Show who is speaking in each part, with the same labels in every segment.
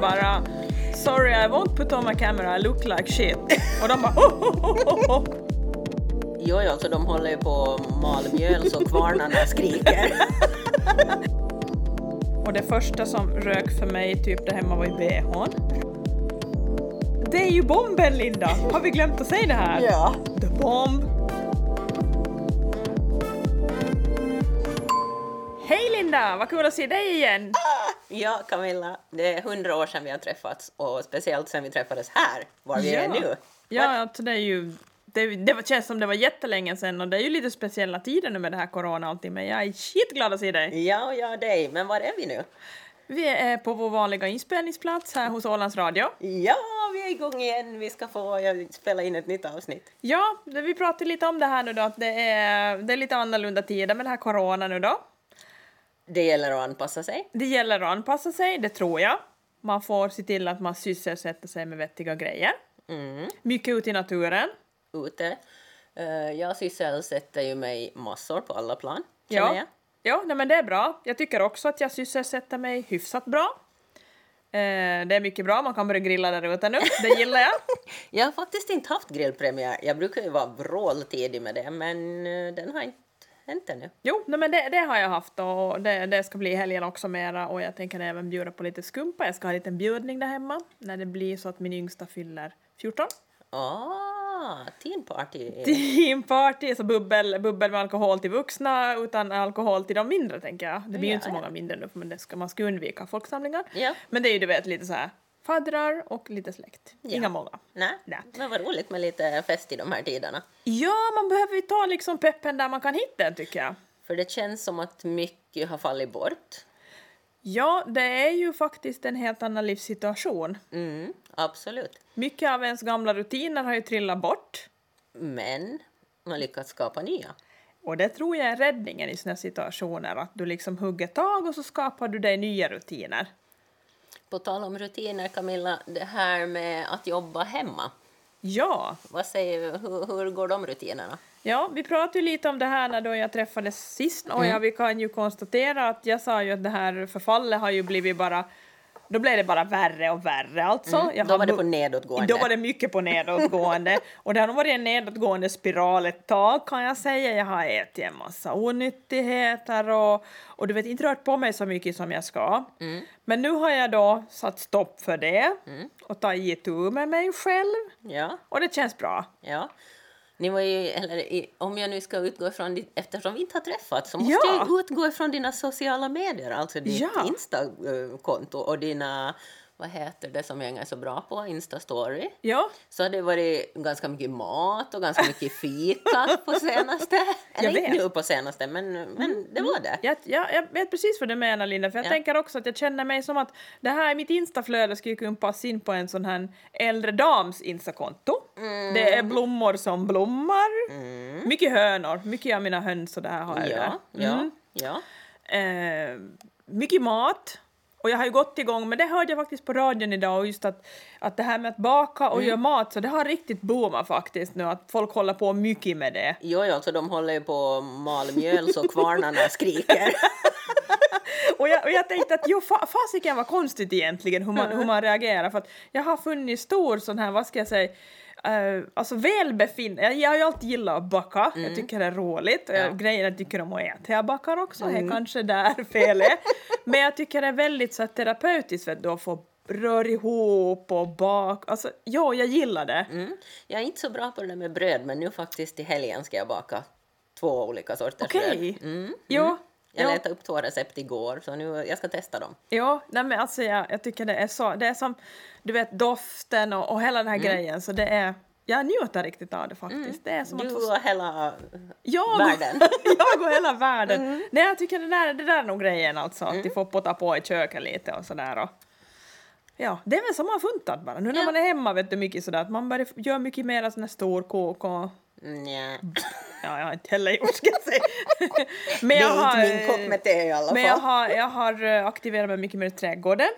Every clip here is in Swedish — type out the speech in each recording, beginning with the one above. Speaker 1: bara “Sorry I won't put on my camera, I look like shit”. Och de bara "Oh, "Ho, ho, ho, ho, ho."
Speaker 2: Jo, jo, så de håller ju på och mal mjöl så kvarnarna skriker.
Speaker 1: Och det första som rök för mig typ där hemma var ju bhn. Det är ju bomben Linda! Har vi glömt att säga det här?
Speaker 2: Ja.
Speaker 1: The bomb! Hej Linda! Vad kul att se dig igen!
Speaker 2: Ja, Camilla, det är hundra år sedan vi har träffats och speciellt sedan vi träffades här, var vi Ah, är nu.
Speaker 1: Ja, alltså det är ju... Det, det var- känns som det var jättelänge sedan och det är ju lite speciella tider nu med det här corona och allting men jag är skitglad att se dig!
Speaker 2: Ja, och jag och dig, men var är vi nu?
Speaker 1: Vi är på vår vanliga inspelningsplats här hos Ålands Radio.
Speaker 2: Ja, vi är igång igen, vi ska få ja, spela in ett nytt avsnitt.
Speaker 1: Ja, det- vi pratade lite om det här nu då att det är, det är lite annorlunda tider med det här corona nu då.
Speaker 2: Det gäller att anpassa sig.
Speaker 1: Det gäller att anpassa sig, det tror jag. Man får se till att man sysselsätter sig med vettiga grejer.
Speaker 2: Mm.
Speaker 1: Mycket ute i naturen.
Speaker 2: Ute. Eh, Jag sysselsätter ju mig massor på alla plan, känner
Speaker 1: Ja,
Speaker 2: jag.
Speaker 1: ja nej men det är bra. Jag tycker också att jag sysselsätter mig hyfsat bra. Eh, det är mycket bra, man kan börja grilla där ute nu. Det gillar jag.
Speaker 2: Jag har faktiskt inte haft grillpremiär. Jag brukar ju vara vråltidig med det, men eh, den har inte hänt ännu.
Speaker 1: Jo, nej men det, det har jag haft och det, det ska bli i helgen också mera och jag tänker även bjuda på lite skumpa. Jag ska ha en liten bjudning där hemma när det blir så att min yngsta fyller 14.
Speaker 2: Ah, teen party!
Speaker 1: Teamparty, så bubbel, bubbel med alkohol till vuxna utan alkohol till de mindre tänker jag. Det blir ju inte så
Speaker 2: Ja, ja.
Speaker 1: många mindre nu för men det ska, man ska undvika folksamlingar.
Speaker 2: Ja.
Speaker 1: Men det är ju du vet lite så här faddrar och lite släkt.
Speaker 2: Ja.
Speaker 1: Inga många.
Speaker 2: Nej,
Speaker 1: Nej.
Speaker 2: men vad roligt med lite fest i de här tiderna.
Speaker 1: Ja, man behöver ju ta liksom peppen där man kan hitta den tycker jag.
Speaker 2: För det känns som att mycket har fallit bort.
Speaker 1: Ja, det är ju faktiskt en helt annan livssituation.
Speaker 2: Mm, absolut.
Speaker 1: Mycket av ens gamla rutiner har ju trillat bort.
Speaker 2: Men man lyckats skapa nya.
Speaker 1: Och det tror jag är räddningen i såna här situationer, att du liksom hugger tag och så skapar du dig nya rutiner.
Speaker 2: På tal om rutiner, Camilla, det här med att jobba hemma.
Speaker 1: Ja,
Speaker 2: Vad säger, hur, hur går de rutinerna?
Speaker 1: ja vi pratade ju lite om det här när då jag träffades sist och
Speaker 2: Mm.
Speaker 1: ja, vi kan ju konstatera att jag sa ju att det här förfallet har ju blivit bara då blev det bara värre och värre alltså. Jag
Speaker 2: Mm. Då
Speaker 1: har
Speaker 2: var det
Speaker 1: bu-
Speaker 2: på nedåtgående.
Speaker 1: Då var det mycket på nedåtgående. och det har nog varit en nedåtgående spiral ett tag kan jag säga. Jag har ätit en massa onyttigheter och, och du vet inte rört på mig så mycket som jag ska. Men nu har jag då satt stopp för det och tagit itu med mig själv
Speaker 2: Ja,
Speaker 1: och det känns bra.
Speaker 2: ja. Ni var ju, eller, i- om jag nu ska utgå ifrån ditt, eftersom vi inte har träffats så måste
Speaker 1: Ja.
Speaker 2: jag ju utgå ifrån dina sociala medier, alltså ditt
Speaker 1: Ja.
Speaker 2: Insta-konto och dina, vad heter det som jag inte är så bra på, Insta-story.
Speaker 1: Ja,
Speaker 2: Så har det varit ganska mycket mat och ganska mycket fika på senaste.
Speaker 1: Jag
Speaker 2: Eller inte
Speaker 1: vet. Mm,
Speaker 2: nu på senaste, men, men det var det.
Speaker 1: jag, jag, jag vet precis vad du menar Linda, för jag
Speaker 2: Ja.
Speaker 1: tänker också att jag känner mig som att det här mitt instaflöde skulle kunna passa in på en sån här äldre dams instakonto. Det är blommor som blommar. Mycket hönor, mycket av mina höns och det här har jag ju
Speaker 2: Mm. Ja,
Speaker 1: där.
Speaker 2: ja,
Speaker 1: Mm.
Speaker 2: ja.
Speaker 1: Eh, mycket mat. Och jag har ju gått igång, men det hörde jag faktiskt på radion idag, och just att, att det här med att baka
Speaker 2: Mm.
Speaker 1: och göra mat, så det har riktigt boomat faktiskt nu, att folk håller på mycket med det.
Speaker 2: Jo, jo, så alltså de håller ju på och mal mjöl så kvarnarna skriker.
Speaker 1: Och jag, och jag tänkte att jo, fa, fasiken var konstigt egentligen hur man, hur man reagerar för att jag har funnit stor sån här, vad ska jag säga, eh, alltså välbefinnande, jag, jag har ju alltid gillat att baka,
Speaker 2: Mm.
Speaker 1: jag tycker det är roligt, och jag, grejen jag tycker om att äta, jag bakar också, det
Speaker 2: Mm.
Speaker 1: är kanske där fel är. Men jag tycker det är väldigt så här, terapeutiskt för att då få rör ihop och bak, alltså ja, jag gillar det.
Speaker 2: Mm. Jag är inte så bra på det där med bröd, men nu faktiskt till helgen ska jag baka två olika sorters
Speaker 1: Okej,
Speaker 2: bröd. Mm.
Speaker 1: jo.
Speaker 2: Jag
Speaker 1: jo.
Speaker 2: letade upp två recept igår, så nu, jag ska testa dem.
Speaker 1: Ja, nej men alltså jag, jag tycker det är så, det är som du vet doften och, och hela den här
Speaker 2: Mm.
Speaker 1: grejen så det är, jag njuter riktigt av det faktiskt. Det är som att
Speaker 2: Du
Speaker 1: få,
Speaker 2: och hela...
Speaker 1: jag,
Speaker 2: världen. Mm.
Speaker 1: jag och hela världen. Nej jag tycker det där, det där är nog grejen alltså, att de får potta på i köket lite och sådär och Ja, det är väl som man har funtat bara. Nu när
Speaker 2: Ja.
Speaker 1: man är hemma vet du mycket sådär att man börjar göra mycket mer sån här stor kåk och...
Speaker 2: Nja.
Speaker 1: Ja, jag har inte heller gjort ska jag säga. Men
Speaker 2: Det
Speaker 1: jag
Speaker 2: är
Speaker 1: har-
Speaker 2: inte min kopp med te i alla fall. Mm.
Speaker 1: men jag har, jag har eh, aktiverat mig mycket mer i trädgården.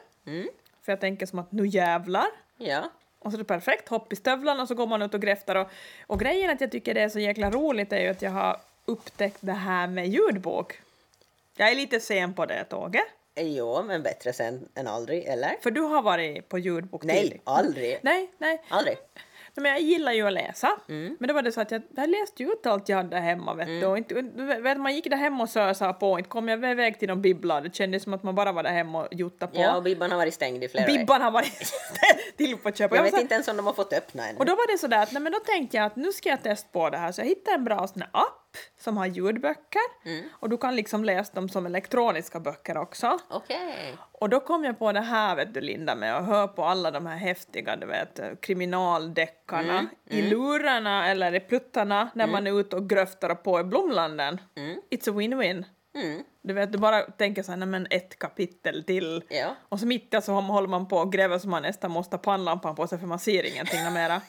Speaker 1: För jag tänker som att nu jävlar.
Speaker 2: Ja.
Speaker 1: Och så är det perfekt, hopp i stövlarna och så går man ut och gräftar. Och, och grejen att jag tycker det är så jäkla roligt är ju att jag har upptäckt det här med ljudbok. Jag är lite sen på det tåget.
Speaker 2: Jo, men bättre sen än aldrig, eller?
Speaker 1: För du har varit på ljudbok
Speaker 2: Nej,
Speaker 1: tidigt.
Speaker 2: aldrig.
Speaker 1: Nej, nej.
Speaker 2: Aldrig.
Speaker 1: Men jag gillar ju att läsa.
Speaker 2: Mm.
Speaker 1: Men då var det så att jag, jag läste ju ut allt jag hade hemma. Vet du. Och inte, du vet, man gick där hemma och sösade på. Inte kom jag iväg till någon bibbla. Det kändes som att man bara var där hemma och juttade på.
Speaker 2: Ja, och Bibban har varit stängd i flera veckor.
Speaker 1: Bibban har varit till på köp. Och var
Speaker 2: Jag vet
Speaker 1: så här-
Speaker 2: inte ens om de har fått öppna ännu.
Speaker 1: Och då var det sådär att nej, men då tänkte jag att nu ska jag testa på det här så jag hittade en bra sån här app som har ljudböcker
Speaker 2: Mm.
Speaker 1: och du kan liksom läsa dem som elektroniska böcker också.
Speaker 2: Okej.
Speaker 1: Och då kom jag på det här vet du Linda med att höra på alla de här häftiga du vet kriminaldeckarna
Speaker 2: Mm,
Speaker 1: i lurarna eller i pluttarna när man är ute och gröftar och på i Blomlanden. It's a win-win.
Speaker 2: Mm.
Speaker 1: Du vet du bara tänker såhär nej men ett kapitel till
Speaker 2: Ja.
Speaker 1: och så mitt i så har- håller man på och gräver så man nästan måste ha pannlampan på sig för man ser ingenting mera.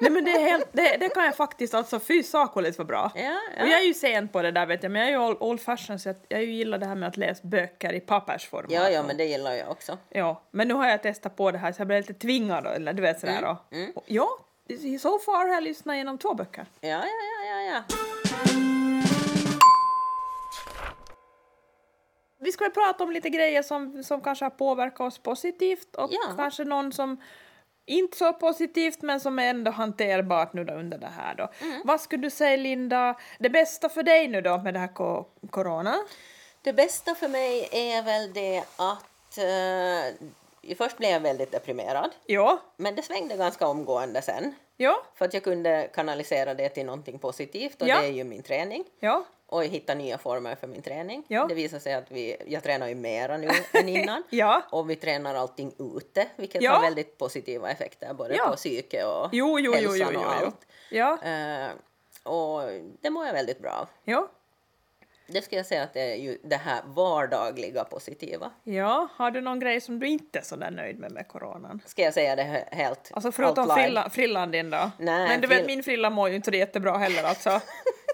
Speaker 1: Nej men det, är helt, det, det kan jag faktiskt, alltså fy sakoligt vad bra.
Speaker 2: Ja,
Speaker 1: Och
Speaker 2: ja.
Speaker 1: jag är ju sen på det där vet jag, men jag är ju old, old fashion så jag, jag ju gillar det här med att läsa böcker i pappersformat.
Speaker 2: ja, ja, men det gillar jag också.
Speaker 1: Ja, men nu har jag testat på det här så jag blev lite tvingad då, eller du vet
Speaker 2: Mm,
Speaker 1: sådär då. Och, ja, so far har jag lyssnat genom två böcker.
Speaker 2: Ja, ja, ja, ja, ja.
Speaker 1: Vi ska väl prata om lite grejer som, som kanske har påverkat oss positivt och
Speaker 2: Ja.
Speaker 1: kanske någon som inte så positivt men som är ändå hanterbart nu då under det här då.
Speaker 2: Mm.
Speaker 1: Vad skulle du säga Linda, det bästa för dig nu då med det här ko- corona?
Speaker 2: Det bästa för mig är väl det att... Eh, först blev jag väldigt deprimerad,
Speaker 1: Ja,
Speaker 2: men det svängde ganska omgående sen.
Speaker 1: ja,
Speaker 2: För att jag kunde kanalisera det till någonting positivt och
Speaker 1: Ja.
Speaker 2: det är ju min träning.
Speaker 1: ja,
Speaker 2: Och hitta nya former för min träning.
Speaker 1: Ja.
Speaker 2: Det visar sig att vi, jag tränar ju mera nu än innan.
Speaker 1: ja,
Speaker 2: Och vi tränar allting ute, vilket
Speaker 1: Ja.
Speaker 2: har väldigt positiva effekter både
Speaker 1: Ja.
Speaker 2: på psyke och
Speaker 1: jo, jo, jo,
Speaker 2: hälsan
Speaker 1: jo, jo,
Speaker 2: och
Speaker 1: jo.
Speaker 2: allt.
Speaker 1: ja,
Speaker 2: Eh, och det mår jag väldigt bra av.
Speaker 1: ja,
Speaker 2: Det skulle jag säga att det är ju det här vardagliga positiva.
Speaker 1: ja, har du någon grej som du inte är sådär nöjd med med coronan?
Speaker 2: Ska jag säga det he- helt
Speaker 1: Alltså förutom
Speaker 2: out loud?
Speaker 1: frilla, frillan din då?
Speaker 2: Nej,
Speaker 1: men du vet
Speaker 2: frill-
Speaker 1: min frilla mår ju inte så jättebra heller alltså.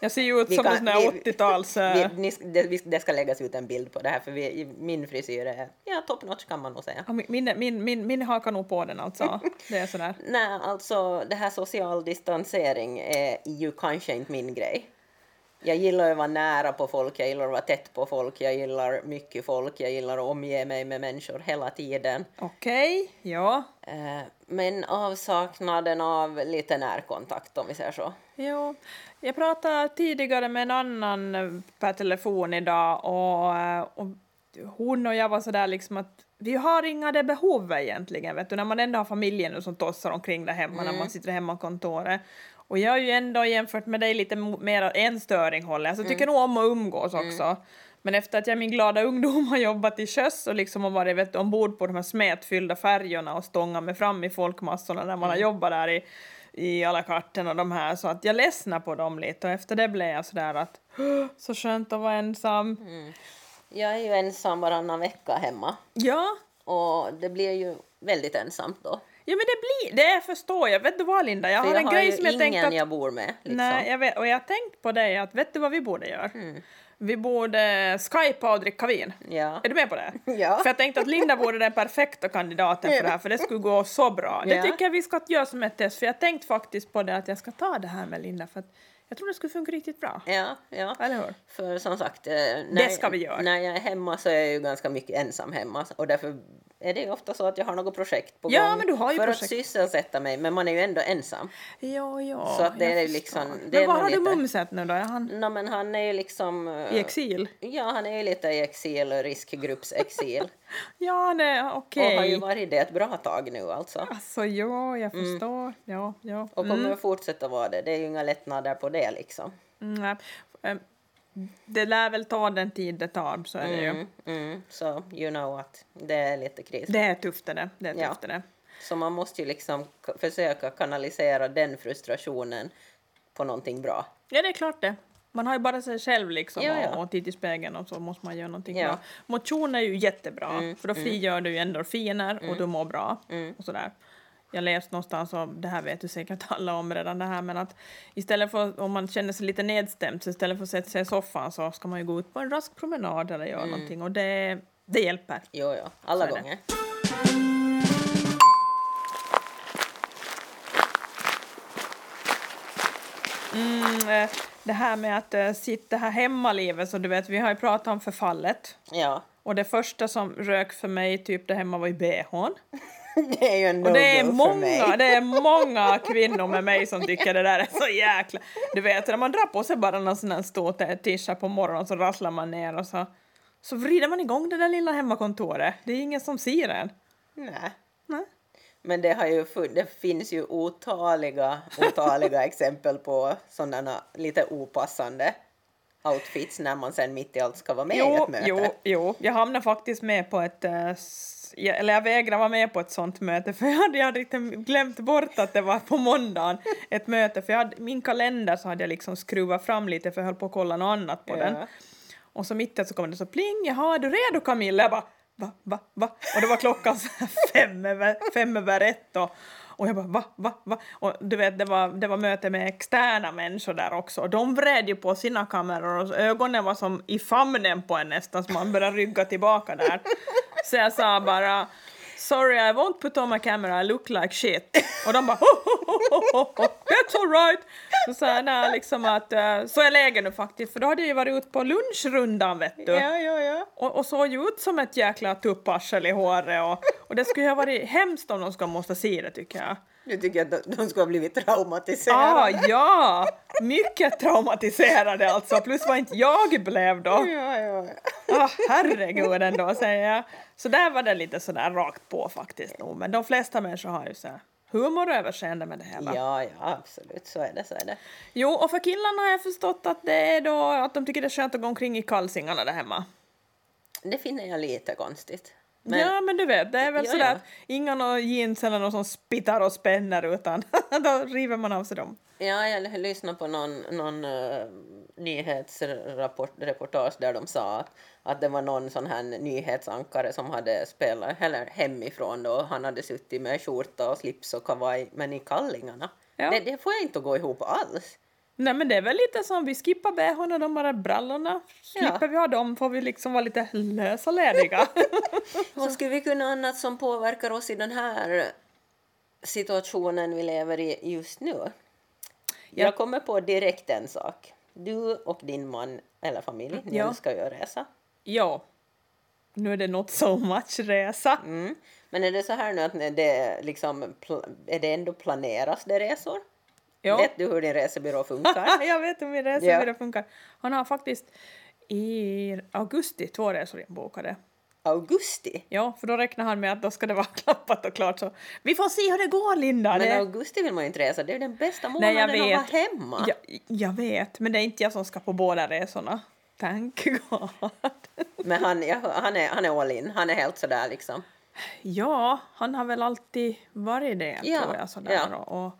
Speaker 1: Jag ser ju ut
Speaker 2: Vi
Speaker 1: som en
Speaker 2: kan-
Speaker 1: sån här
Speaker 2: vi-
Speaker 1: 80-tals... eh,
Speaker 2: Vi, ni, sk- det, vi, det ska läggas ut en bild på det här för vi, min frisyr är ja, top notch kan man nog säga.
Speaker 1: Ja, min- Min, min, min, min hakar nog på den alltså. Det är sådär.
Speaker 2: Nej, alltså det här social distansering är ju kanske inte min grej. Jag gillar att vara nära på folk, jag gillar att vara tätt på folk, jag gillar mycket folk, jag gillar att omge mig med människor hela tiden.
Speaker 1: Okej, ja.
Speaker 2: Eh, Men avsaknaden av lite närkontakt om vi säger så.
Speaker 1: Jo. Jag pratade tidigare med en annan eh, per telefon idag och, eh, och hon och jag var sådär liksom att vi har inga det behovet egentligen, vet du, när man ändå har familjen nu som tossar omkring där hemma när man sitter hemma på kontoret. Och jag är ju ändå jämfört med dig lite mo- mer en störing håller jag, så jag tycker nog om att umgås också. Men efter att jag i min glada ungdom har jobbat i sjöss och liksom har varit vet du, ombord på de här smetfyllda färjorna och stångat mig fram i folkmassorna när man har jobbat där i, i alla karten och de här så att jag ledsnar på dem lite och efter det blev jag sådär att "Åh, så skönt att vara ensam.
Speaker 2: Mm. Jag är ju ensam varannan vecka hemma
Speaker 1: Ja,
Speaker 2: och det blir ju väldigt ensamt då.
Speaker 1: ja men det blir, det förstår jag. Vet du vad Linda, jag
Speaker 2: För
Speaker 1: har
Speaker 2: jag
Speaker 1: en
Speaker 2: har
Speaker 1: grej
Speaker 2: ju
Speaker 1: som jag tänkte
Speaker 2: ingen
Speaker 1: att
Speaker 2: jag bor med. Liksom.
Speaker 1: Nej, jag vet, och jag har tänkt på det att vet du vad vi borde göra?
Speaker 2: Mm.
Speaker 1: Vi borde skypa och dricka vin.
Speaker 2: Ja.
Speaker 1: Är du med på det?
Speaker 2: Ja.
Speaker 1: För jag tänkte att Linda vore den perfekta kandidaten för det här, för det skulle gå så bra. Det
Speaker 2: Ja.
Speaker 1: tycker jag vi ska göra som ett test, för jag tänkte faktiskt på det att jag ska ta det här med Linda, för att jag tror det skulle funka riktigt bra.
Speaker 2: Ja, ja.
Speaker 1: Eller hur?
Speaker 2: För som sagt, eh, när,
Speaker 1: Det ska vi göra.
Speaker 2: när jag är hemma så är jag ju ganska mycket ensam hemma och därför är det ju ofta så att jag har något projekt på
Speaker 1: Ja,
Speaker 2: gång
Speaker 1: men du har ju
Speaker 2: för
Speaker 1: projekt.
Speaker 2: att sysselsätta mig, men man är ju ändå ensam.
Speaker 1: Ja, ja.
Speaker 2: Så att det
Speaker 1: jag
Speaker 2: är
Speaker 1: förstår.
Speaker 2: liksom- det
Speaker 1: Men
Speaker 2: är
Speaker 1: var
Speaker 2: nog
Speaker 1: har du
Speaker 2: lite-
Speaker 1: mumset nu då? Är han
Speaker 2: Nå, men han är ju liksom... eh,
Speaker 1: i exil?
Speaker 2: Ja, han är ju lite i exil, riskgruppsexil.
Speaker 1: Ja, nej,
Speaker 2: Och
Speaker 1: okej.
Speaker 2: har ju varit det ett bra tag nu alltså.
Speaker 1: Alltså, ja, jag förstår. Ja, ja.
Speaker 2: Mm. Och kommer att fortsätta vara det. Det är ju inga lättnader på det liksom.
Speaker 1: Mm, nej. Ehm, Det lär väl ta den tid det tar, så är det ju.
Speaker 2: Mm, mm. Så you know att det är lite kris.
Speaker 1: Det är tufft det, det är
Speaker 2: Ja.
Speaker 1: tufft det.
Speaker 2: Så man måste ju liksom k- försöka kanalisera den frustrationen på någonting bra.
Speaker 1: Ja, det är klart det. Man har ju bara sig själv liksom
Speaker 2: Ja, ja.
Speaker 1: och- och tittar i spegeln och så måste man göra någonting
Speaker 2: Ja. Mm,
Speaker 1: bra. Motion är ju jättebra för då frigör du ju endorfiner och du mår bra och sådär. Jag läste någonstans, och det här vet du säkert alla om redan det här, men att istället för om man känner sig lite nedstämd så istället för att sätta sig i soffan så ska man ju gå ut på en rask promenad eller göra
Speaker 2: Mm.
Speaker 1: någonting och det, det hjälper.
Speaker 2: Jo, jo, alla
Speaker 1: Så är det.
Speaker 2: gånger.
Speaker 1: Mm, eh, det här med att eh, sitta här hemma livet, så du vet, vi har ju pratat om förfallet.
Speaker 2: Ja,
Speaker 1: Och det första som rök för mig typ där hemma var i bhn.
Speaker 2: Det är ju en no
Speaker 1: Och det är,
Speaker 2: go för
Speaker 1: många,
Speaker 2: mig.
Speaker 1: det är många kvinnor med mig som tycker det där är så jäkla... Du vet, när man drar på sig bara någon sån här stor t- t-shirt på morgonen så rasslar man ner och så, så vrider man igång det där lilla hemmakontoret. Det är ingen som ser en.
Speaker 2: Nej.
Speaker 1: Nej.
Speaker 2: Men det, har ju fun- det finns ju otaliga, otaliga exempel på sådana lite opassande outfits när man sen mitt i allt ska vara med i
Speaker 1: Jo,
Speaker 2: ett möte.
Speaker 1: jo, jo, jag hamnade faktiskt med på ett... eh, s- jag- Eller jag vägrade vara med på ett sånt möte för jag hade, jag hade riktigt glömt bort att det var på måndagen ett möte för jag hade, min kalender så hade jag liksom skruvat fram lite för jag höll på att kolla något annat på
Speaker 2: Ja.
Speaker 1: den. Och så mitt i så kom det så pling, jaha är du redo Camilla? Jag bara va, va, va? Och det var klockan så här fem över, fem över ett och, och jag bara va, va, va? Och du vet det var, det var möte med externa människor där också och de vred ju på sina kameror och ögonen var som i famnen på en nästan så man började rygga tillbaka där. Så jag sa bara Sorry, I won't put on my camera, I look like shit. Och de bara ho, ho, ho, ho, ho, ho, That's alright! Så sa jag där liksom att eh, så är läget nu faktiskt, för då hade jag ju varit ute på lunchrundan vet du.
Speaker 2: Ja, ja, ja.
Speaker 1: Och, och såg ju ut som ett jäkla tupparsel i håret och, och det skulle ju ha varit hemskt om de ska måste se det tycker jag.
Speaker 2: Nu tycker jag att de, de skulle ha blivit
Speaker 1: Ah,
Speaker 2: traumatiserade.
Speaker 1: ja! Mycket traumatiserade alltså, plus vad inte jag blev då.
Speaker 2: ja, ja, ja.
Speaker 1: Ah, herregud ändå, säger jag. Så där var det lite sådär rakt på faktiskt nog. Men de flesta människor har ju så här humor och överseende med det hela.
Speaker 2: Ja, ja, absolut. Så är det, så är det.
Speaker 1: Jo, och för killarna har jag förstått att det är då att de tycker det är skönt att gå omkring i kalsingarna där hemma.
Speaker 2: Det finner jag lite konstigt. Men,
Speaker 1: ja, men du vet, det är väl
Speaker 2: Ja,
Speaker 1: sådär
Speaker 2: ja.
Speaker 1: att inga nå jeans eller någon som spittar och spänner utan då river man av sig dem.
Speaker 2: Ja, jag lyssnade på någon, någon eh, nyhetsrapport reportage där de sa att, att det var någon sån här nyhetsankare som hade spelat eller hemifrån då. Han hade suttit med skjorta och slips och kavaj, men i kallingarna.
Speaker 1: Ja.
Speaker 2: Det, det får jag inte att gå ihop alls.
Speaker 1: Nej men det är väl lite som vi skippar bhn och de bara brallorna. Slipper vi ha dem får vi liksom vara lite lösa lediga.
Speaker 2: Vad skulle vi kunna annat som påverkar oss i den här situationen vi lever i just nu? Jag kommer på direkt en sak. Du och din man eller familj,
Speaker 1: Mm,
Speaker 2: ni
Speaker 1: Ja.
Speaker 2: ska ju resa.
Speaker 1: ja. Nu är det not so much resa.
Speaker 2: Mm. Men är det så här nu att när det liksom, pl- är det ändå planeras det resor?
Speaker 1: Ja.
Speaker 2: Vet du hur din resebyrå funkar?
Speaker 1: jag vet hur min resebyrå funkar. Han har faktiskt i augusti två resor inbokade.
Speaker 2: Augusti?
Speaker 1: Ja, för då räknar han med att då ska det vara klappat och klart så. Vi får se hur det går Linda!
Speaker 2: Men
Speaker 1: det...
Speaker 2: augusti vill man ju inte resa, det är ju den bästa
Speaker 1: Nej, jag
Speaker 2: månaden att vara
Speaker 1: vet.
Speaker 2: hemma.
Speaker 1: Ja, jag vet, men det är inte jag som ska på båda resorna. Thank God!
Speaker 2: Men han, jag, han, är, han är all in, han är helt sådär liksom.
Speaker 1: Ja, han har väl alltid varit det
Speaker 2: Ja,
Speaker 1: tror jag. Sådär.
Speaker 2: ja.
Speaker 1: Och,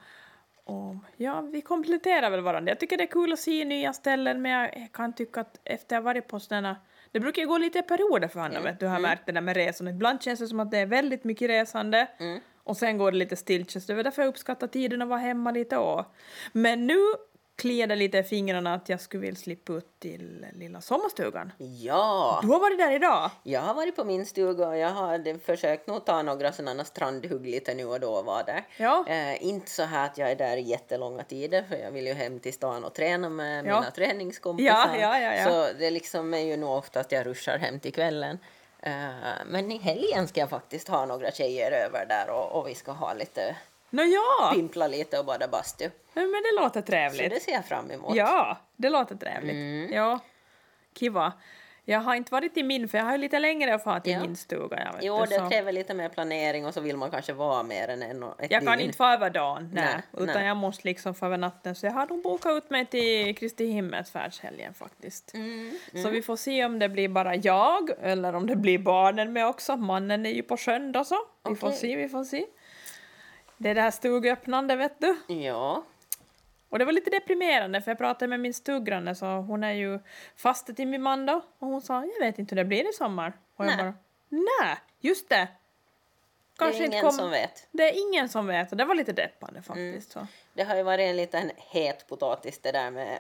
Speaker 1: och, ja, vi kompletterar väl varandra. Jag tycker det är kul att se nya ställen men jag kan tycka att efter jag varit på sådana det brukar ju gå lite i perioder för honom,
Speaker 2: Mm,
Speaker 1: vet du har märkt det där med resorna. Ibland känns det som att det är väldigt mycket resande
Speaker 2: Mm.
Speaker 1: och sen går det lite stiltje, så det var därför jag uppskattar tiden att vara hemma lite och. Men nu kliar det lite i fingrarna att jag skulle vilja slippa ut till lilla sommarstugan.
Speaker 2: Ja!
Speaker 1: Du har varit där idag!
Speaker 2: Jag har varit på min stuga och jag har försökt nog ta några sådana strandhugg lite nu och då och vara där.
Speaker 1: Ja.
Speaker 2: Eh, inte så här att jag är där i jättelånga tider för jag vill ju hem till stan och träna med
Speaker 1: Ja.
Speaker 2: mina träningskompisar.
Speaker 1: Ja, ja, ja, ja.
Speaker 2: Så det liksom är ju nog ofta att jag ruschar hem till kvällen. Eh, men i helgen ska jag faktiskt ha några tjejer över där och, och vi ska ha lite,
Speaker 1: Nåja!
Speaker 2: pimpla lite och bada bastu.
Speaker 1: Men det låter
Speaker 2: Så
Speaker 1: trevligt.
Speaker 2: det ser jag fram emot.
Speaker 1: Ja, det låter trevligt.
Speaker 2: Mm.
Speaker 1: Ja, kiva. Jag har inte varit i min, för jag har ju lite längre att fara till
Speaker 2: Ja.
Speaker 1: min stuga. Jag, vet
Speaker 2: Jo,
Speaker 1: du,
Speaker 2: det
Speaker 1: så.
Speaker 2: kräver lite mer planering och så vill man kanske vara mer än en och ett
Speaker 1: jag kan
Speaker 2: dygn.
Speaker 1: inte fara över dagen, nej,
Speaker 2: Mm. Nej,
Speaker 1: utan
Speaker 2: nej.
Speaker 1: jag måste liksom fara över natten. Så jag har nog bokat ut mig till Kristi himmelsfärdshelgen faktiskt.
Speaker 2: Mm,
Speaker 1: Så vi får se om det blir bara jag eller om det blir barnen med också. Mannen är ju på sjön då så. Vi får
Speaker 2: Okej.
Speaker 1: se, vi får se. Det är det här stugöppnande vet du.
Speaker 2: Ja.
Speaker 1: Och det var lite deprimerande för jag pratade med min stuggranne så hon är ju faste till min man då och hon sa jag vet inte hur det blir i sommar. Och jag
Speaker 2: Nej.
Speaker 1: bara nej, just det. Kanske
Speaker 2: det är
Speaker 1: inte
Speaker 2: ingen
Speaker 1: kom...
Speaker 2: som vet. Mm.
Speaker 1: Det är ingen som vet och det var lite deppande faktiskt. Så.
Speaker 2: Det har ju varit en liten het potatis det där med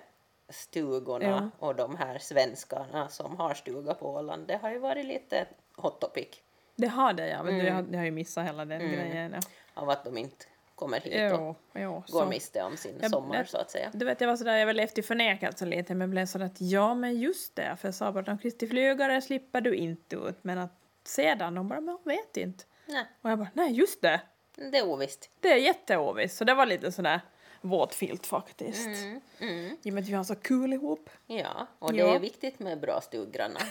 Speaker 2: stugorna och de här svenskarna som har stuga på Åland. Det har ju varit lite hot topic Mm.
Speaker 1: Det har det ja, men du, jag, har- jag har ju missat hela den grejen. Ja.
Speaker 2: av att de inte kommer hit och
Speaker 1: Jo, jo,
Speaker 2: går
Speaker 1: så.
Speaker 2: miste om sin
Speaker 1: Jag-
Speaker 2: sommar
Speaker 1: jag-
Speaker 2: så att säga.
Speaker 1: Du vet, jag var sådär, jag var levt i förnekelse lite men blev sådär att ja men just det, för jag sa bara att om Kristi flygare slipper du inte ut men att sedan, de bara men hon vet inte.
Speaker 2: Nej,
Speaker 1: Och jag bara nej just det,
Speaker 2: det är ovisst.
Speaker 1: det är jätteovisst så det var lite sådär våt filt faktiskt.
Speaker 2: Mm, mm.
Speaker 1: I och med att vi har så kul ihop.
Speaker 2: Ja, och det
Speaker 1: Ja.
Speaker 2: är viktigt med bra stuggrannar.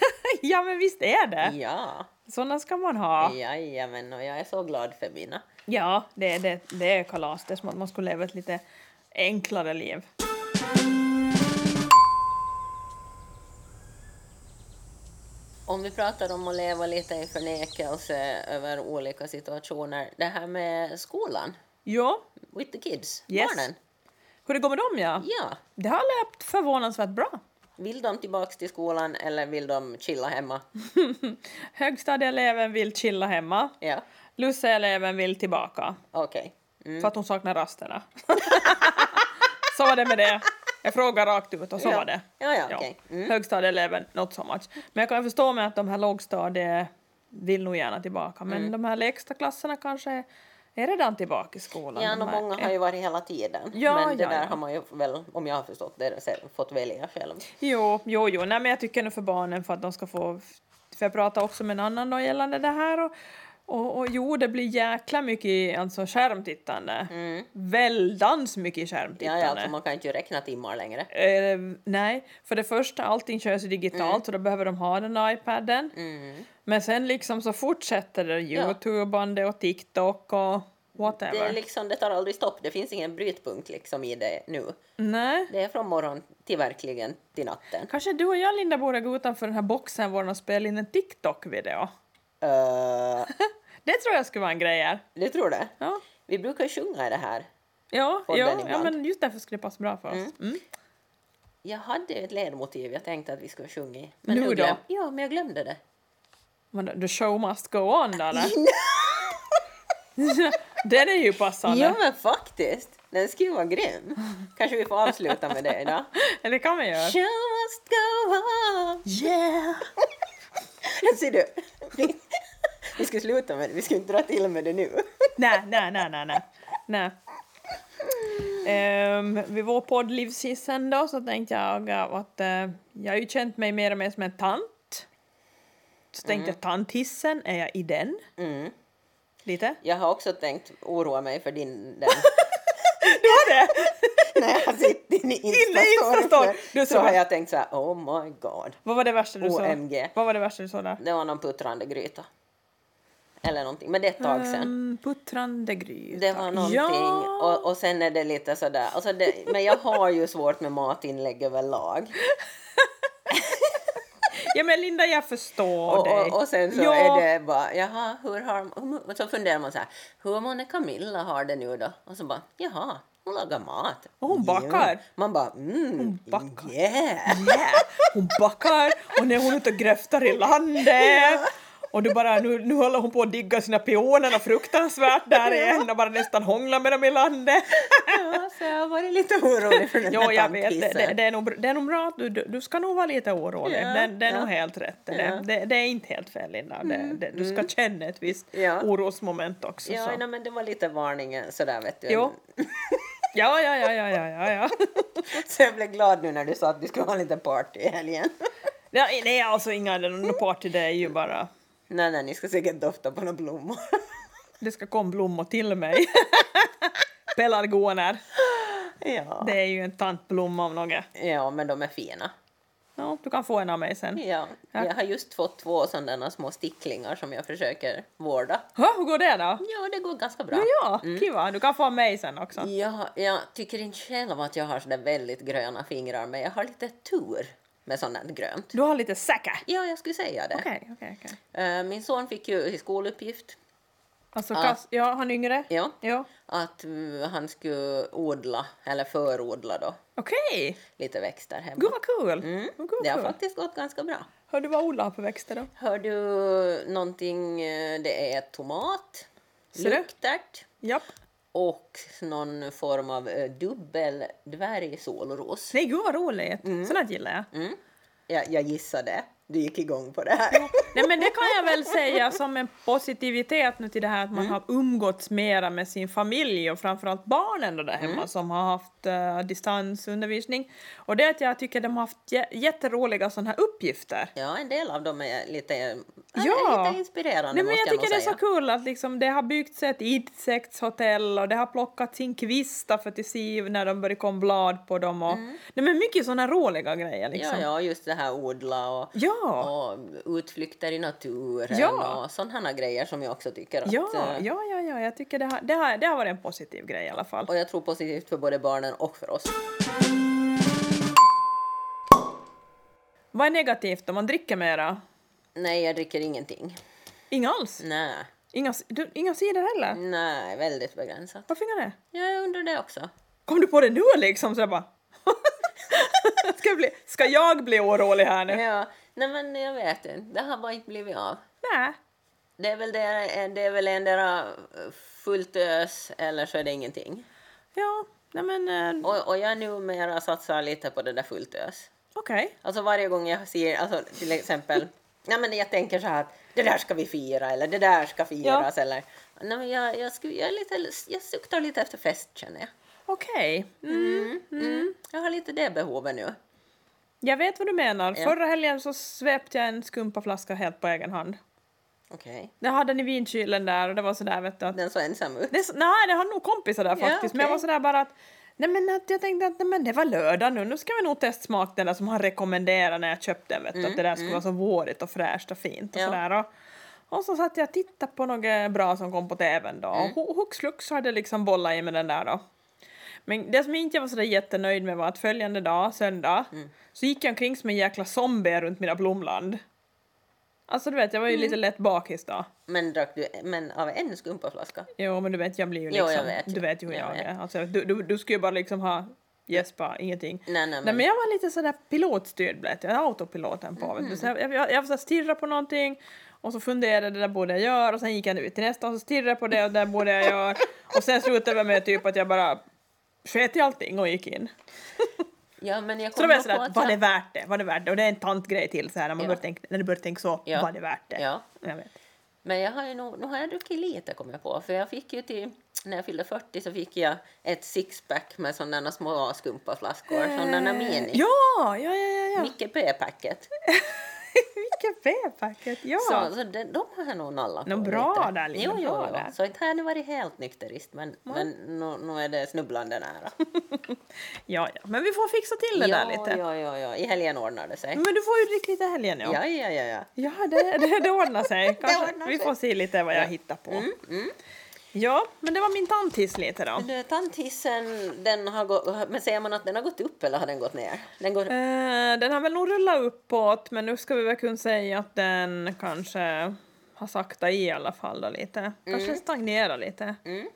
Speaker 1: ja men visst är det,
Speaker 2: Ja,
Speaker 1: sådana ska man ha.
Speaker 2: jajamän, och jag är så glad för mina.
Speaker 1: Ja, det, det, det är kalas, det är som att man skulle leva ett lite enklare liv.
Speaker 2: Om vi pratar om att leva lite i förnekelse över olika situationer, det här med skolan,
Speaker 1: Ja,
Speaker 2: with the kids,
Speaker 1: Yes.
Speaker 2: barnen.
Speaker 1: hur det går med dem ja.
Speaker 2: Ja,
Speaker 1: Det har löpt förvånansvärt bra.
Speaker 2: vill de tillbaks till skolan eller vill de chilla hemma?
Speaker 1: Mm. Högstadieeleven vill chilla hemma.
Speaker 2: Ja,
Speaker 1: Lusseeleven vill tillbaka
Speaker 2: okej. Mm.
Speaker 1: för att hon saknar rasterna. så var det med det. Jag frågar rakt ut och så
Speaker 2: Ja.
Speaker 1: var det.
Speaker 2: Ja, ja, okej. Mm.
Speaker 1: Högstadieeleven, not so much. Men jag kan förstå med att de här lågstadie vill nog gärna tillbaka men
Speaker 2: Mm.
Speaker 1: de här lägsta klasserna kanske är redan tillbaka i skolan.
Speaker 2: Ja, no,
Speaker 1: här-
Speaker 2: många har ju varit hela tiden.
Speaker 1: Mm. Ja,
Speaker 2: men det
Speaker 1: ja,
Speaker 2: där
Speaker 1: ja.
Speaker 2: har man ju väl, om jag har förstått det, sen fått välja själv.
Speaker 1: Jo, jo, jo. Nej, men jag tycker nog för barnen för att de ska få... För jag pratade också med en annan då gällande det här och, och, och jo, det blir jäkla mycket alltså, skärmtittande.
Speaker 2: Mm.
Speaker 1: Väldans mycket
Speaker 2: Ja,
Speaker 1: skärmtittande.
Speaker 2: ja, alltså man kan inte ju räkna timmar längre.
Speaker 1: Eh, nej, för det första, allting körs ju digitalt så då behöver de ha den där iPaden.
Speaker 2: Mm.
Speaker 1: Men sen liksom så fortsätter det Youtubande och TikTok och whatever.
Speaker 2: Det, är liksom, det tar aldrig stopp, det finns ingen brytpunkt liksom i det nu.
Speaker 1: Nej.
Speaker 2: Det är från morgon till verkligen till natten.
Speaker 1: Kanske du och jag, Linda, borde gå utanför den här boxen vår och spela in en TikTok-video.
Speaker 2: Eh,
Speaker 1: Det tror jag skulle vara en grej här.
Speaker 2: du tror det?
Speaker 1: Ja.
Speaker 2: Vi brukar sjunga i det här.
Speaker 1: Ja,
Speaker 2: podden
Speaker 1: ja, ja
Speaker 2: ibland.
Speaker 1: men just därför skulle det passa bra för oss. Mm.
Speaker 2: Jag hade ett ledmotiv jag tänkte att vi skulle sjunga i.
Speaker 1: Nu då?
Speaker 2: glöm- Ja, men jag glömde det.
Speaker 1: Men då- the show must go on då eller? Den är ju passande.
Speaker 2: ja, men faktiskt! Den skulle ju vara grym. Kanske vi får avsluta med det idag.
Speaker 1: Eller kan man göra.
Speaker 2: Show must go on!
Speaker 1: Yeah!
Speaker 2: Ser du? Vi ska sluta med det, vi ska inte dra till med det nu.
Speaker 1: nej, nej, nej, nej, nej. nej. Um, vid vår podd Livshissen då så tänkte jag att eh, jag har ju känt mig mer och mer som en tant. Så tänkte jag tanthissen, är jag i den?
Speaker 2: Mm.
Speaker 1: Lite?
Speaker 2: Jag har också tänkt oroa mig för din... Den,
Speaker 1: Du har det?
Speaker 2: när jag har sett din Insta-story.
Speaker 1: Insta-story.
Speaker 2: för-
Speaker 1: Du
Speaker 2: så
Speaker 1: sa-
Speaker 2: har jag tänkt så här, oh my god.
Speaker 1: Vad var det värsta du sa?
Speaker 2: OMG.
Speaker 1: Vad var det värsta du sa där?
Speaker 2: Det var någon puttrande gryta. Eller någonting, men det är ett tag sedan.
Speaker 1: Ehm, puttrande gryta.
Speaker 2: Det var någonting
Speaker 1: Ja.
Speaker 2: och, och sen är det lite sådär, alltså det, men jag har ju svårt med matinlägg överlag.
Speaker 1: ja men Linda jag förstår
Speaker 2: Och,
Speaker 1: dig.
Speaker 2: och, och sen så
Speaker 1: ja,
Speaker 2: är det bara, jaha, hur har hur, och så funderar man så här, hur många Camilla har det nu då? Och så bara, jaha, hon lagar mat.
Speaker 1: Och hon bakar.
Speaker 2: Man bara, mm, hon
Speaker 1: bakar.
Speaker 2: yeah.
Speaker 1: Yeah. Hon backar och när hon är ute och gräftar i landet. Och du bara, nu, nu håller hon på att digga sina pioner och fruktansvärt där igen och bara nästan hånglar med dem i landet.
Speaker 2: Ja, så jag har varit lite orolig för den
Speaker 1: Ja,
Speaker 2: här
Speaker 1: jag vet. Det, det,
Speaker 2: tantkissen.
Speaker 1: det, är nog, br- det är nog bra att du, du, du ska nog vara lite orolig.
Speaker 2: Ja,
Speaker 1: det, det är
Speaker 2: ja.
Speaker 1: nog helt rätt. Det,
Speaker 2: Ja. Mm,
Speaker 1: det, det är inte helt fel, Linda. Det, det, du ska känna ett visst
Speaker 2: Ja.
Speaker 1: orosmoment också.
Speaker 2: Ja,
Speaker 1: så.
Speaker 2: nej, men det var lite varningen sådär vet du.
Speaker 1: Jo. Ja, ja, ja, ja, ja, ja, ja.
Speaker 2: Så jag blev glad nu när du sa att vi skulle ha lite party i helgen.
Speaker 1: Ja, nej, alltså inga någon party, det är ju bara...
Speaker 2: Nej, nej, ni ska säkert dofta på några blommor.
Speaker 1: Det ska komma blommor till mig. Pelargoner.
Speaker 2: Ja.
Speaker 1: Det är ju en tantblomma om något.
Speaker 2: ja, men de är fina.
Speaker 1: Ja, du kan få en av mig sen.
Speaker 2: Ja.
Speaker 1: Ja.
Speaker 2: Jag har just fått två sådana små sticklingar som jag försöker vårda.
Speaker 1: Hå, hur går det då?
Speaker 2: Ja, det går ganska bra.
Speaker 1: Ja, ja,
Speaker 2: Mm.
Speaker 1: kiva. Du kan få av mig sen också.
Speaker 2: Ja, jag tycker inte själv att jag har sådär väldigt gröna fingrar, men jag har lite tur med sånt här grönt.
Speaker 1: Du har lite säcka.
Speaker 2: Ja, jag skulle säga det.
Speaker 1: Okej, okej, okej.
Speaker 2: Eh, Min son fick ju i skoluppgift
Speaker 1: Alltså,
Speaker 2: Ja.
Speaker 1: Kas, ja, han yngre?
Speaker 2: ja,
Speaker 1: Ja.
Speaker 2: att mm, han skulle odla, eller förodla då,
Speaker 1: Okej!
Speaker 2: lite växter hemma.
Speaker 1: Gud vad kul!
Speaker 2: Mm.
Speaker 1: Gud vad
Speaker 2: Det har
Speaker 1: kul.
Speaker 2: faktiskt gått ganska bra.
Speaker 1: Hör du vad Ola har på växter då?
Speaker 2: Hör du någonting? eh, Det är tomat,
Speaker 1: Ser du?
Speaker 2: luktärt
Speaker 1: Japp.
Speaker 2: och någon form av eh, dubbel dvärgsolros.
Speaker 1: Nej, gud vad roligt! Sånt här gillar jag.
Speaker 2: Mm. Jag, jag gissade. du gick igång på det här.
Speaker 1: Nej men det kan jag väl säga som en positivitet nu till det här att
Speaker 2: Mm.
Speaker 1: man har umgåtts mera med sin familj och framförallt barnen då där hemma
Speaker 2: Mm.
Speaker 1: som har haft eh, distansundervisning. Och det är att jag tycker de har haft jä- jätteroliga sådana här uppgifter.
Speaker 2: Ja, en del av dem är lite, eh, är
Speaker 1: Ja.
Speaker 2: lite inspirerande
Speaker 1: Nej, men
Speaker 2: måste
Speaker 1: jag
Speaker 2: jag,
Speaker 1: tycker det är
Speaker 2: nog säga.
Speaker 1: så kul att liksom, det har byggts ett insektshotell och det har plockats in kvistar för till Siv när de började komma blad på dem. Och, Nej men mycket sådana roliga grejer liksom.
Speaker 2: Mm. Ja, ja, just det här odla och,
Speaker 1: ja.
Speaker 2: och utflykter i naturen
Speaker 1: Ja.
Speaker 2: och sådana grejer som jag också tycker att...
Speaker 1: Ja,
Speaker 2: eh,
Speaker 1: ja, ja, ja, jag tycker det har, det, har, det har varit en positiv grej i alla fall.
Speaker 2: Och jag tror positivt för både barnen och för oss.
Speaker 1: Vad är negativt om man dricker mera?
Speaker 2: Nej, jag dricker ingenting.
Speaker 1: Inga alls?
Speaker 2: Nej,
Speaker 1: Inga, du, inga cider heller?
Speaker 2: nej, väldigt begränsat.
Speaker 1: Varför inga det?
Speaker 2: Ja, jag undrar det också.
Speaker 1: Kom du på det nu liksom? Så jag bara... ska, jag bli, ska jag bli orolig här nu?
Speaker 2: Ja, nej men jag vet inte. Det har bara inte blivit av.
Speaker 1: Nej.
Speaker 2: Det är väl, det, det är väl endera fullt ös eller så är det ingenting.
Speaker 1: Ja, nej men eh,
Speaker 2: Och, och jag numera satsar lite på det där fullt ös.
Speaker 1: okej.
Speaker 2: Alltså varje gång jag ser, alltså till exempel, nej men jag tänker så här att det där ska vi fira eller det där ska firas eller. Nej men jag, jag, skulle, jag, är lite, jag suktar lite efter fest känner jag.
Speaker 1: Okej. Mm.
Speaker 2: Mm. Jag har lite det behovet nu.
Speaker 1: Jag vet vad du menar.
Speaker 2: Ja.
Speaker 1: Förra helgen så svepte jag en skumpaflaska helt på egen hand.
Speaker 2: Okej.
Speaker 1: Jag hade den i vinkylen där och det var sådär vet du att
Speaker 2: Den såg ensam ut.
Speaker 1: Det är så, nej, det har nog kompisar där
Speaker 2: Ja,
Speaker 1: faktiskt. Men jag var
Speaker 2: okej.
Speaker 1: sådär bara att Nej men att jag tänkte att nej, men det var lördag nu, nu ska vi nog testsmaka den där som han rekommenderade när jag köpte den vet du, att det där skulle vara så vårigt och fräscht och fint och
Speaker 2: Mm, Ja.
Speaker 1: sådär. Och, och så satt jag och tittade på något bra som kom på tvn då
Speaker 2: Mm.
Speaker 1: och hu- hux flux så hade jag liksom bollat i med den där då. Men det som inte jag var sådär jättenöjd med var att följande dag, söndag,
Speaker 2: Mm.
Speaker 1: så gick jag omkring som en jäkla zombie runt mina blomland. Alltså du vet, jag var
Speaker 2: Mm.
Speaker 1: ju lite lätt bakis då.
Speaker 2: Men drack du men av en skumpaflaska?
Speaker 1: Jo men du vet jag blir ju
Speaker 2: Jo, jag
Speaker 1: liksom,
Speaker 2: vet ju.
Speaker 1: du vet ju hur
Speaker 2: Jag
Speaker 1: jag,
Speaker 2: vet.
Speaker 1: är. Alltså, du, du, du skulle ju bara liksom ha gäspa, ingenting. Nej,
Speaker 2: Nej, nej,
Speaker 1: men... jag var lite sådär pilotstyrd blev jag, autopiloten på.
Speaker 2: Mm.
Speaker 1: vet du. Så jag, jag, jag, jag så här stirrade på någonting och så funderade jag, det där borde jag göra och sen gick jag ut till nästa och så stirrade jag på det och det där borde jag göra. Och sen slutade jag med typ att jag bara sket i allting och gick in.
Speaker 2: Ja, men jag
Speaker 1: Så då var jag
Speaker 2: kommer
Speaker 1: sådär,
Speaker 2: på att
Speaker 1: var
Speaker 2: jag-
Speaker 1: det värt det? Var det värt det? Och det är en tantgrej till så här när man
Speaker 2: Ja.
Speaker 1: börjar tänka, när du börjar tänka så,
Speaker 2: Ja.
Speaker 1: var det värt det?
Speaker 2: Ja,
Speaker 1: Jag vet.
Speaker 2: men jag har ju nog, nu har jag druckit lite kom jag på. För jag fick ju till, när jag fyllde 40 så fick jag ett sixpack med sådana små skumpaflaskor. Sådana mini.
Speaker 1: Ja, ja, ja, Eh, ja, ja.
Speaker 2: Micke P-packet.
Speaker 1: Vilket V-packet, ja.
Speaker 2: Så, så de, de har jag nog nallat
Speaker 1: Nå,
Speaker 2: på
Speaker 1: bra
Speaker 2: lite.
Speaker 1: där, Linda,
Speaker 2: Jo, jo,
Speaker 1: bra
Speaker 2: jo.
Speaker 1: där.
Speaker 2: Så inte har jag nu varit helt nykterist. Men, men nu, nu är det snubblande nära.
Speaker 1: Ja, ja, men vi får fixa till det där lite.
Speaker 2: Ja, ja, ja. I helgen ordnar det sig.
Speaker 1: Men du får ju dricka lite i helgen ja.
Speaker 2: Ja, ja, ja. ja.
Speaker 1: Ja, det, det, det ordnar sig. Kanske,
Speaker 2: ordnar
Speaker 1: vi
Speaker 2: sig. Mm,
Speaker 1: får se lite vad jag hittar på. Ja, men det var min tandtiss lite då.
Speaker 2: Du, tandtissen, eh, den har gått, men säger man att den har gått upp eller har den gått ner? Den går,
Speaker 1: Eh, den har väl nog rullat uppåt, men nu ska vi väl kunna säga att den kanske har sakta i i alla fall då lite. Kanske stagnerar lite.
Speaker 2: Mm.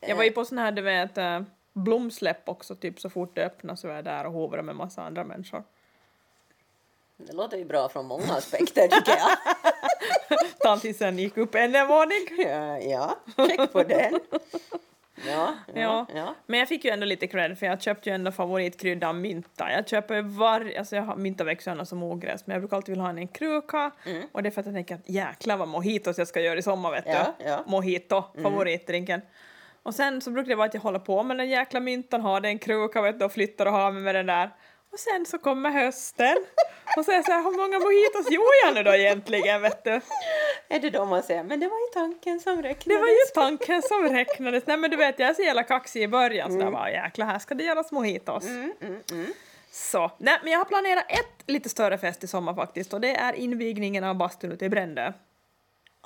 Speaker 1: Jag var ju på sån här, du vet, eh, blomsläpp också, typ så fort det öppnas så var jag där och hovrade med massa andra människor.
Speaker 2: det låter ju bra från många aspekter tycker jag.
Speaker 1: Tandtissen gick upp ännu en våning.
Speaker 2: Ja, ja, check på den. Ja, ja,
Speaker 1: Ja.
Speaker 2: ja.
Speaker 1: Men jag fick ju ändå lite cred för jag köpte ju ändå favoritkryddan mynta. Jag köper ju var, alltså jag har, mynta växer ju annars som ogräs men jag brukar alltid vilja ha en i en kruka
Speaker 2: Mm.
Speaker 1: och det är för att jag tänker att jäklar vad mojitos jag ska göra i sommar vet
Speaker 2: Ja,
Speaker 1: du.
Speaker 2: ja. Mm.
Speaker 1: Mojito, favoritdrinken. Och sen så brukar det vara att jag håller på med den jäkla myntan, har den i en kruka vet du och flyttar och har mig med den där. Och sen så kommer hösten och så är jag så här, hur många mojitos gjorde jag nu då egentligen vet du?
Speaker 2: Är det då man säger, men det var ju tanken som räknades.
Speaker 1: Det var ju tanken som räknades. Nej men du vet, jag är så jävla kaxig i början så där bara jäklar, här ska det göras mojitos.
Speaker 2: Mm, mm, mm.
Speaker 1: Så, nej men jag har planerat ett lite större fest i sommar faktiskt och det är invigningen av bastun ute i Brändö.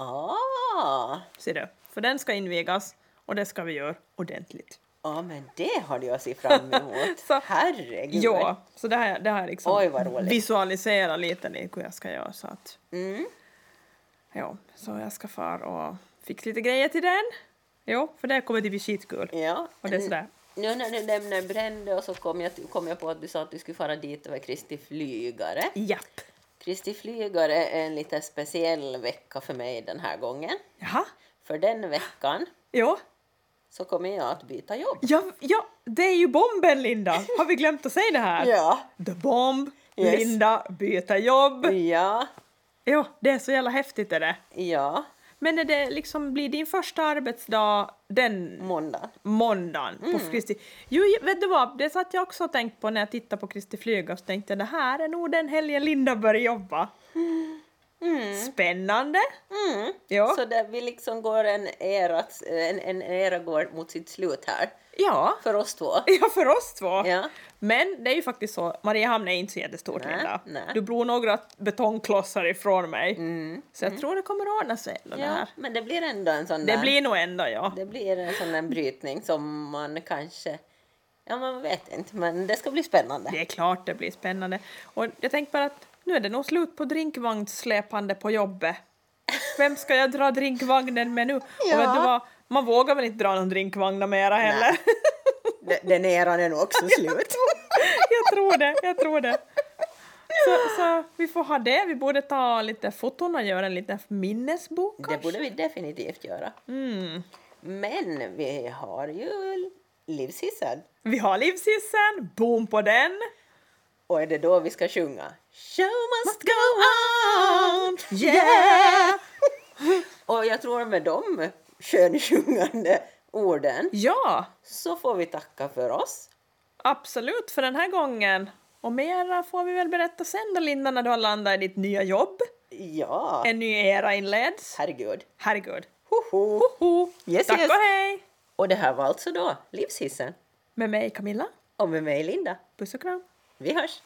Speaker 2: Ah,
Speaker 1: Ser du? För den ska invigas och det ska vi göra ordentligt.
Speaker 2: ja, men det hade jag sett fram emot.
Speaker 1: Så-
Speaker 2: Herregud.
Speaker 1: Ja, så det här, det här liksom
Speaker 2: Oj, vad roligt.
Speaker 1: visualiserat lite nu hur jag ska göra så att
Speaker 2: Mm.
Speaker 1: ja, så jag ska fara och fixa lite grejer till den. Jo, för det kommer det bli skitkul.
Speaker 2: Ja.
Speaker 1: Och det är sådär.
Speaker 2: Nu när du nämner Brände och så kom jag, kom jag på att du sa att du skulle fara dit över Kristi flygare.
Speaker 1: Japp.
Speaker 2: Kristi flygare är en lite speciell vecka för mig den här gången.
Speaker 1: Jaha.
Speaker 2: För den veckan
Speaker 1: Jo.
Speaker 2: så kommer jag att byta jobb.
Speaker 1: Ja, ja, det är ju bomben Linda! Har vi glömt att säga det här?
Speaker 2: Ja.
Speaker 1: The bomb!
Speaker 2: Yes.
Speaker 1: Linda byter jobb.
Speaker 2: Ja,
Speaker 1: Ja, det är så jävla häftigt är det.
Speaker 2: ja,
Speaker 1: Men är det liksom, blir din första arbetsdag den
Speaker 2: måndag.
Speaker 1: måndagen på
Speaker 2: Mm.
Speaker 1: Kristi... Jo, vet du vad, det satt jag också och tänkte på när jag tittade på Kristi Flyga så tänkte jag det här är nog den helgen Linda börjar jobba. Spännande!
Speaker 2: Mm.
Speaker 1: Ja.
Speaker 2: Så där vi liksom går en era, en, en era går mot sitt slut här.
Speaker 1: Ja.
Speaker 2: För oss två.
Speaker 1: ja, för oss två.
Speaker 2: Ja.
Speaker 1: Men det är ju faktiskt så, Mariehamn är inte så jättestort
Speaker 2: Nej,
Speaker 1: Linda.
Speaker 2: nej.
Speaker 1: Du bor några betongklossar ifrån mig.
Speaker 2: Mm.
Speaker 1: Så jag tror det kommer ordna sig. ändå Det,
Speaker 2: Ja,
Speaker 1: här.
Speaker 2: men det blir ändå en sån
Speaker 1: det
Speaker 2: där,
Speaker 1: blir nog ändå ja.
Speaker 2: det blir en sån där brytning som man kanske... Ja, man vet inte, men det ska bli spännande.
Speaker 1: Det är klart det blir spännande. Och jag tänkte bara att nu är det nog slut på drinkvagnssläpande på jobbet. Vem ska jag dra drinkvagnen med nu?
Speaker 2: Ja.
Speaker 1: Och vet du vad? Man vågar väl inte dra någon drinkvagn mera heller?
Speaker 2: D- Den eran är nog också slut.
Speaker 1: jag tror det, jag tror det. Så, så vi får ha det. Vi borde ta lite foton och göra en liten minnesbok
Speaker 2: Det
Speaker 1: kanske.
Speaker 2: borde vi definitivt göra.
Speaker 1: Mm.
Speaker 2: Men vi har ju livshissad.
Speaker 1: Vi har livshissen, boom på den!
Speaker 2: Och är det då vi ska sjunga? Show must go on!
Speaker 1: Yeah!
Speaker 2: Och jag tror med de skönsjungande orden
Speaker 1: Ja,
Speaker 2: så får vi tacka för oss.
Speaker 1: absolut för den här gången. Och mera får vi väl berätta sen då Linda när du har landat i ditt nya jobb.
Speaker 2: Ja,
Speaker 1: En ny era inleds.
Speaker 2: herregud.
Speaker 1: Herregud.
Speaker 2: Hoho.
Speaker 1: Hoho!
Speaker 2: Yes,
Speaker 1: Tack
Speaker 2: yes.
Speaker 1: och hej!
Speaker 2: Och det här var alltså då Livshissen.
Speaker 1: Med mig Camilla.
Speaker 2: Och med mig Linda.
Speaker 1: Puss och kram.
Speaker 2: Vi hörs!